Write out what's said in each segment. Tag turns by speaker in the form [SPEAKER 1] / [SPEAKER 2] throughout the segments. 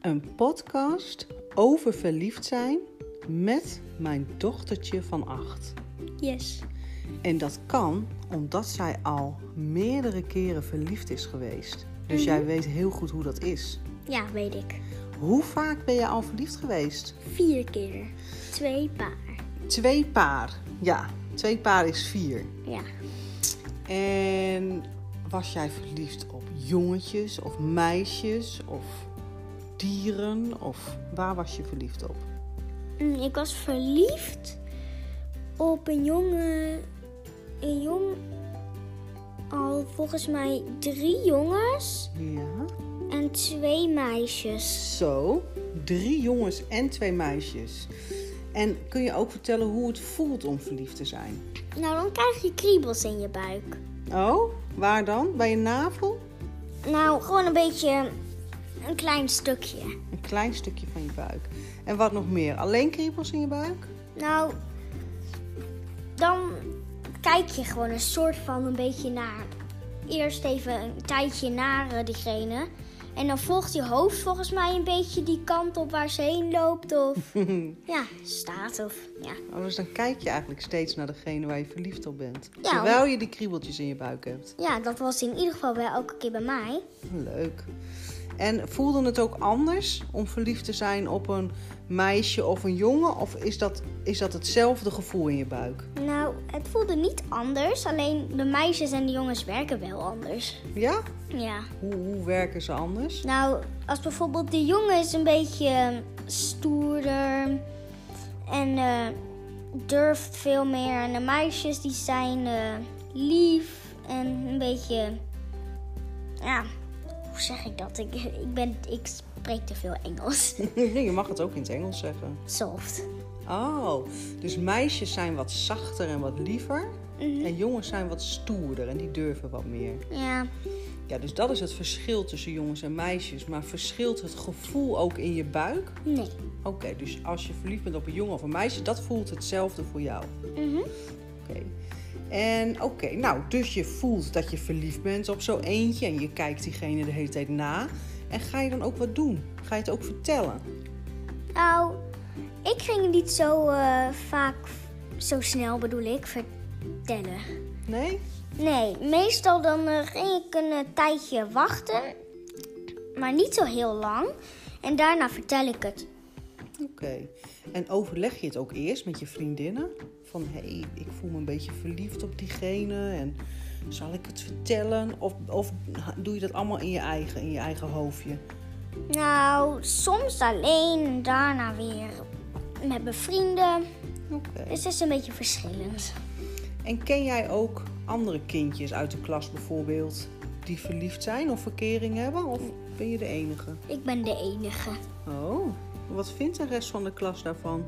[SPEAKER 1] Een podcast over verliefd zijn met mijn dochtertje van acht.
[SPEAKER 2] Yes.
[SPEAKER 1] En dat kan omdat zij al meerdere keren verliefd is geweest. Dus jij weet heel goed hoe dat is.
[SPEAKER 2] Ja, weet ik.
[SPEAKER 1] Hoe vaak ben je al verliefd geweest?
[SPEAKER 2] Vier keer. Twee paar.
[SPEAKER 1] Twee paar. Ja, twee paar is vier.
[SPEAKER 2] Ja.
[SPEAKER 1] En was jij verliefd op jongetjes of meisjes of dieren? Of waar was je verliefd op?
[SPEAKER 2] Mm, Ik was verliefd op een jongen. Een jong. Al volgens mij drie jongens
[SPEAKER 1] Ja.
[SPEAKER 2] en twee meisjes.
[SPEAKER 1] Zo, drie jongens en twee meisjes. En kun je ook vertellen hoe het voelt om verliefd te zijn?
[SPEAKER 2] Nou, dan krijg je kriebels in je buik.
[SPEAKER 1] Oh, waar dan? Bij je navel?
[SPEAKER 2] Nou, gewoon een beetje. Een klein stukje.
[SPEAKER 1] Een klein stukje van je buik. En wat nog meer? Alleen kriebels in je buik?
[SPEAKER 2] Nou, dan kijk je gewoon een soort van een beetje naar. Eerst even een tijdje naar eh, diegene. En dan volgt je hoofd volgens mij een beetje die kant op waar ze heen loopt of ja, staat of ja.
[SPEAKER 1] Oh, dus dan kijk je eigenlijk steeds naar degene waar je verliefd op bent.
[SPEAKER 2] Ja.
[SPEAKER 1] Terwijl je die kriebeltjes in je buik hebt.
[SPEAKER 2] Ja, dat was in ieder geval wel elke keer bij mij.
[SPEAKER 1] Leuk. En voelde het ook anders om verliefd te zijn op een meisje of een jongen? Of is dat, is dat hetzelfde gevoel in je buik?
[SPEAKER 2] Nou, het voelde niet anders, alleen de meisjes en de jongens werken wel anders.
[SPEAKER 1] Ja?
[SPEAKER 2] Ja.
[SPEAKER 1] Hoe, hoe werken ze anders?
[SPEAKER 2] Nou, als bijvoorbeeld de jongen is een beetje eh, stoerder en eh, durft veel meer. En de meisjes die zijn eh, lief en een beetje, ja, hoe zeg ik dat? Ik, ik, ben, ik spreek te veel Engels.
[SPEAKER 1] Nee, je mag het ook in het Engels zeggen.
[SPEAKER 2] Soft.
[SPEAKER 1] Oh, dus meisjes zijn wat zachter en wat liever. En jongens zijn wat stoerder en die durven wat meer.
[SPEAKER 2] Ja,
[SPEAKER 1] Ja, dus dat is het verschil tussen jongens en meisjes. Maar verschilt het gevoel ook in je buik?
[SPEAKER 2] nee.
[SPEAKER 1] Oké, dus als je verliefd bent op een jongen of een meisje, dat voelt hetzelfde voor jou.
[SPEAKER 2] Mhm.
[SPEAKER 1] Oké. En oké, nou, dus je voelt dat je verliefd bent op zo eentje en je kijkt diegene de hele tijd na. En ga je dan ook wat doen? Ga je het ook vertellen?
[SPEAKER 2] Nou, ik ging het niet zo eh, vaak, zo snel bedoel ik, vertellen.
[SPEAKER 1] Nee?
[SPEAKER 2] Nee, meestal dan eh, ging ik een eh, tijdje wachten, maar niet zo heel lang. En daarna vertel ik het.
[SPEAKER 1] Oké. En overleg je het ook eerst met je vriendinnen? Van hé, hey, ik voel me een beetje verliefd op diegene en zal ik het vertellen? Of, of doe je dat allemaal in je eigen, in je eigen hoofdje?
[SPEAKER 2] Nou, soms alleen en daarna weer met mijn vrienden.
[SPEAKER 1] Oké.
[SPEAKER 2] Dus het is een beetje verschillend.
[SPEAKER 1] Eh, En ken jij ook andere kindjes uit de klas bijvoorbeeld die verliefd zijn of verkering hebben? Of ben je de enige?
[SPEAKER 2] Ik ben de enige.
[SPEAKER 1] Oh, wat vindt de rest van de klas daarvan?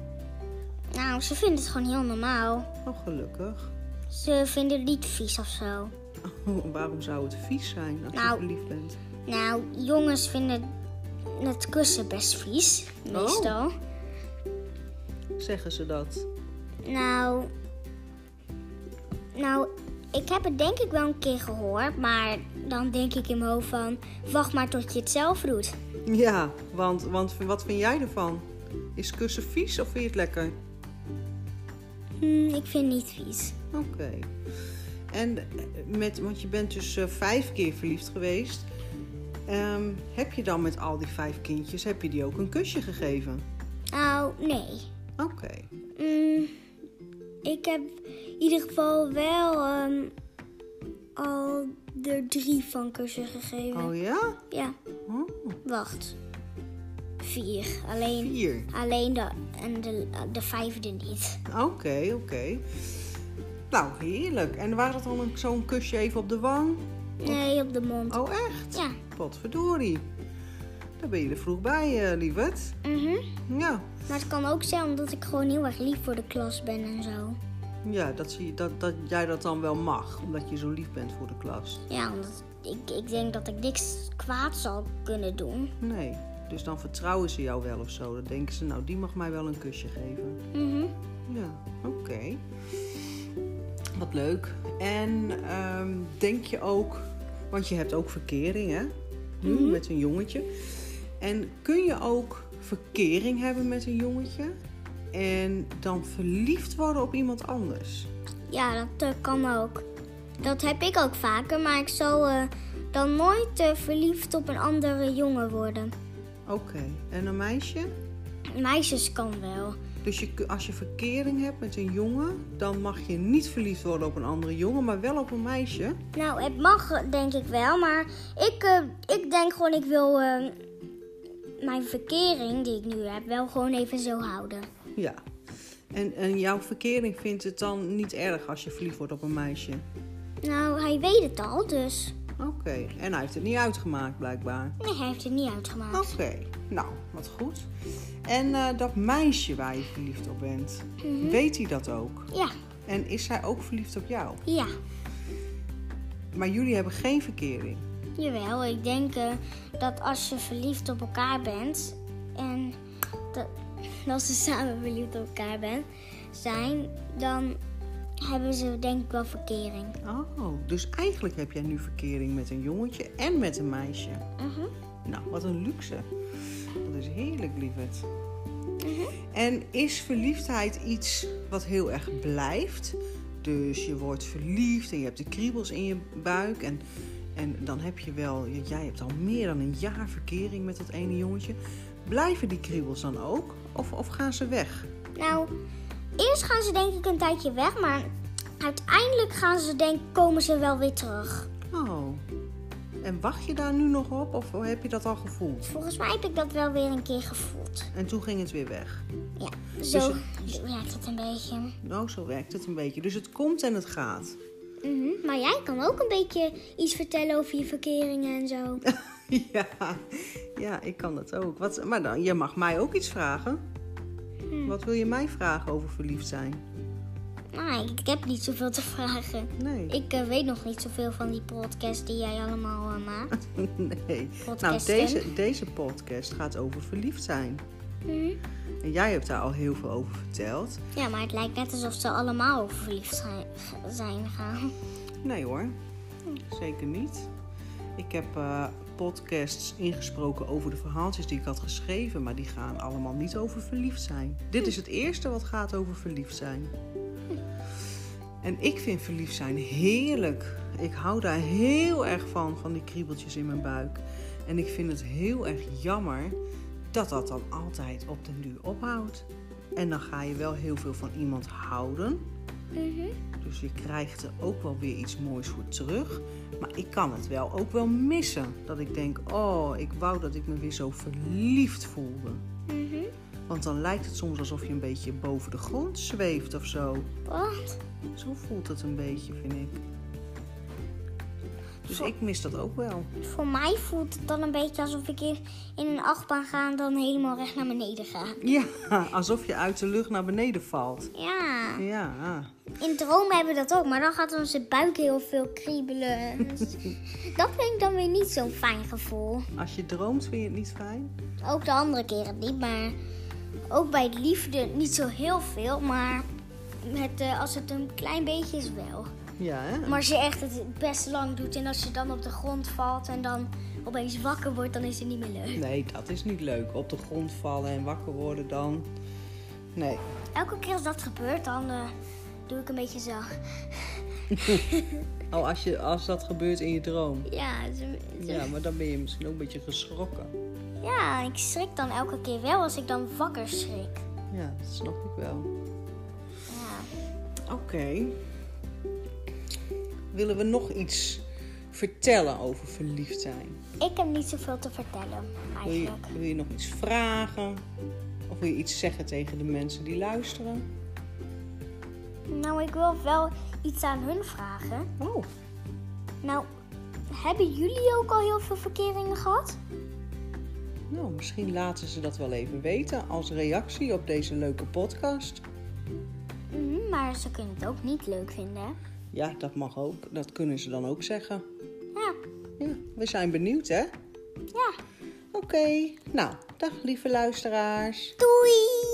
[SPEAKER 2] Nou, ze vinden het gewoon heel normaal.
[SPEAKER 1] Oh, gelukkig.
[SPEAKER 2] Ze vinden het niet vies of zo.
[SPEAKER 1] Oh, waarom zou het vies zijn als je
[SPEAKER 2] Nou,
[SPEAKER 1] verliefd bent?
[SPEAKER 2] Nou, jongens vinden het kussen best vies, meestal.
[SPEAKER 1] Zeggen ze dat?
[SPEAKER 2] Nou, nou, ik heb het denk ik wel een keer gehoord, maar dan denk ik in mijn hoofd van, wacht maar tot je het zelf doet.
[SPEAKER 1] Ja, want, want wat vind jij ervan? Is kussen vies of vind je het lekker?
[SPEAKER 2] Hm, ik vind het niet vies.
[SPEAKER 1] Oké. En eh, met, want je bent dus eh, vijf keer verliefd geweest. Ehm, heb je dan met al die vijf kindjes, heb je die ook een kusje gegeven?
[SPEAKER 2] Nou, nee.
[SPEAKER 1] Oké.
[SPEAKER 2] Hm, ik heb in ieder geval wel ehm, al er drie van kussen gegeven.
[SPEAKER 1] Oh ja?
[SPEAKER 2] Ja,
[SPEAKER 1] Oh,
[SPEAKER 2] wacht. Vier. Alleen,
[SPEAKER 1] vier.
[SPEAKER 2] alleen de, en de, de vijfde niet.
[SPEAKER 1] Oké, oké. Nou, heerlijk. En waren dat dan een- zo'n kusje even op de wang?
[SPEAKER 2] Nee, op de mond.
[SPEAKER 1] Oh echt?
[SPEAKER 2] Ja.
[SPEAKER 1] Potverdorie. Daar ben je er vroeg bij, eh lieverd.
[SPEAKER 2] Mhm.
[SPEAKER 1] Ja.
[SPEAKER 2] Maar het kan ook zijn omdat ik gewoon heel erg lief voor de klas ben en zo.
[SPEAKER 1] Ja, dat, zie, dat, dat jij dat dan wel mag, omdat je zo lief bent voor de klas.
[SPEAKER 2] Ja, omdat ik, ik denk dat ik niks kwaad zal kunnen doen.
[SPEAKER 1] Nee, dus dan vertrouwen ze jou wel of zo. Dan denken ze, nou, die mag mij wel een kusje geven.
[SPEAKER 2] Mhm.
[SPEAKER 1] Ja, oké. Wat leuk. En ehm, denk je ook, want je hebt ook verkering, hè? Nu met een Hm, jongetje. En kun je ook verkering hebben met een jongetje en dan verliefd worden op iemand anders?
[SPEAKER 2] Ja, dat eh, kan ook. Dat heb ik ook vaker, maar ik zal eh, dan nooit eh, verliefd op een andere jongen worden.
[SPEAKER 1] Oké, en een meisje?
[SPEAKER 2] Meisjes kan wel.
[SPEAKER 1] Dus je, kun- als je verkering hebt met een jongen, dan mag je niet verliefd worden op een andere jongen, maar wel op een meisje.
[SPEAKER 2] Nou, het mag eh, denk ik wel, maar ik, eh, ik denk gewoon ik wil eh, mijn verkering die ik nu heb wel gewoon even zo houden.
[SPEAKER 1] Ja. En, en jouw verkering vindt het dan niet erg als je verliefd wordt op een meisje?
[SPEAKER 2] Nou, hij weet het al, dus
[SPEAKER 1] Oké, en hij heeft het niet uitgemaakt blijkbaar.
[SPEAKER 2] nee, hij heeft het niet
[SPEAKER 1] Oké,
[SPEAKER 2] uitgemaakt.
[SPEAKER 1] nou, wat goed. En eh, dat meisje waar je verliefd op bent, weet hij dat ook?
[SPEAKER 2] Ja,
[SPEAKER 1] En is zij ook verliefd op jou?
[SPEAKER 2] ja,
[SPEAKER 1] Maar jullie hebben geen verkering.
[SPEAKER 2] jawel. Ik denk eh, dat als je verliefd op elkaar bent en dat, als ze samen verliefd op elkaar ben, zijn, dan hebben ze denk ik wel verkering.
[SPEAKER 1] Oh, dus eigenlijk heb jij nu verkering met een jongetje en met een meisje.
[SPEAKER 2] Mhm.
[SPEAKER 1] Nou, wat een luxe. Dat is heerlijk, lieverd. En is verliefdheid iets wat heel erg blijft? Dus je wordt verliefd en je hebt de kriebels in je buik. En, en dan heb je wel, jij hebt al meer dan een jaar verkering met dat ene jongetje. Blijven die kriebels dan ook? Of, of gaan ze weg?
[SPEAKER 2] Nou, eerst gaan ze denk ik een tijdje weg, maar uiteindelijk gaan ze denk, komen ze wel weer terug.
[SPEAKER 1] Oh. En wacht je daar nu nog op? Of heb je dat al gevoeld?
[SPEAKER 2] Volgens mij heb ik dat wel weer een keer gevoeld.
[SPEAKER 1] En toen ging het weer weg.
[SPEAKER 2] Ja, zo
[SPEAKER 1] het-
[SPEAKER 2] werkt het een beetje.
[SPEAKER 1] Nou, zo werkt het een beetje. Dus het komt en het gaat.
[SPEAKER 2] Mhm, Maar jij kan ook een beetje iets vertellen over je verkeringen en zo.
[SPEAKER 1] Ja, ja, ik kan dat ook. Wat, maar dan, je mag mij ook iets vragen. Wat wil je mij vragen over verliefd zijn?
[SPEAKER 2] Maar Nou, ik, ik heb niet zoveel te vragen.
[SPEAKER 1] Nee.
[SPEAKER 2] Ik eh, weet nog niet zoveel van die podcast die jij allemaal eh, maakt.
[SPEAKER 1] nee. Nou,
[SPEAKER 2] Podcasten.
[SPEAKER 1] deze, deze podcast gaat over verliefd zijn.
[SPEAKER 2] Mhm.
[SPEAKER 1] En jij hebt daar al heel veel over verteld.
[SPEAKER 2] Ja, maar het lijkt net alsof ze allemaal over verliefd zijn- zijn gaan.
[SPEAKER 1] Nee hoor, zeker niet. Ik heb eh, podcasts ingesproken over de verhaaltjes die ik had geschreven, maar die gaan allemaal niet over verliefd zijn. Dit is het eerste wat gaat over verliefd zijn. En ik vind verliefd zijn heerlijk. Ik hou daar heel erg van, van die kriebeltjes in mijn buik. En ik vind het heel erg jammer dat dat dan altijd op den duur ophoudt. En dan ga je wel heel veel van iemand houden, dus je krijgt er ook wel weer iets moois voor terug. Maar ik kan het wel ook wel missen. Dat ik denk, oh, ik wou dat ik me weer zo verliefd voelde. Mhm. Want dan lijkt het soms alsof je een beetje boven de grond zweeft of zo.
[SPEAKER 2] Wat?
[SPEAKER 1] Zo voelt het een beetje, vind ik. Dus ik mis dat ook wel.
[SPEAKER 2] Voor mij voelt het dan een beetje alsof ik in, in een achtbaan ga en dan helemaal recht naar beneden ga.
[SPEAKER 1] Ja, alsof je uit de lucht naar beneden valt.
[SPEAKER 2] Ja,
[SPEAKER 1] Ja,
[SPEAKER 2] in dromen hebben we dat ook, maar dan gaat onze buik heel veel kriebelen. Dus dat vind ik dan weer niet zo'n fijn gevoel.
[SPEAKER 1] als je droomt vind je het niet fijn?
[SPEAKER 2] Ook de andere keren niet, maar ook bij liefde niet zo heel veel, maar met, eh, als het een klein beetje is wel.
[SPEAKER 1] Ja, hè?
[SPEAKER 2] Maar als je echt het best lang doet en als je dan op de grond valt en dan opeens wakker wordt, dan is het niet meer leuk.
[SPEAKER 1] Nee, dat is niet leuk. Op de grond vallen en wakker worden dan. Nee.
[SPEAKER 2] Elke keer als dat gebeurt, dan eh, doe ik een beetje zo.
[SPEAKER 1] Oh, als, je, als dat gebeurt in je droom.
[SPEAKER 2] Ja, het is een- het is een-
[SPEAKER 1] Ja, maar dan ben je misschien ook een beetje geschrokken.
[SPEAKER 2] ja, ik schrik dan elke keer wel als ik dan wakker schrik.
[SPEAKER 1] Ja, dat snap ik wel.
[SPEAKER 2] Ja.
[SPEAKER 1] Oké. Willen we nog iets vertellen over verliefd zijn?
[SPEAKER 2] Ik heb niet zoveel te vertellen,
[SPEAKER 1] Wil je,
[SPEAKER 2] eigenlijk.
[SPEAKER 1] wil je nog iets vragen? Of wil je iets zeggen tegen de mensen die luisteren?
[SPEAKER 2] Nou, ik wil wel iets aan hun vragen.
[SPEAKER 1] Oh,
[SPEAKER 2] Nou, hebben jullie ook al heel veel verkeringen gehad?
[SPEAKER 1] nou, misschien laten ze dat wel even weten als reactie op deze leuke podcast.
[SPEAKER 2] Mhm, maar ze kunnen het ook niet leuk vinden, hè?
[SPEAKER 1] Ja, dat mag ook. Dat kunnen ze dan ook zeggen.
[SPEAKER 2] Ja,
[SPEAKER 1] Ja, we zijn benieuwd, hè?
[SPEAKER 2] ja.
[SPEAKER 1] Oké, nou, dag lieve luisteraars.
[SPEAKER 2] Doei!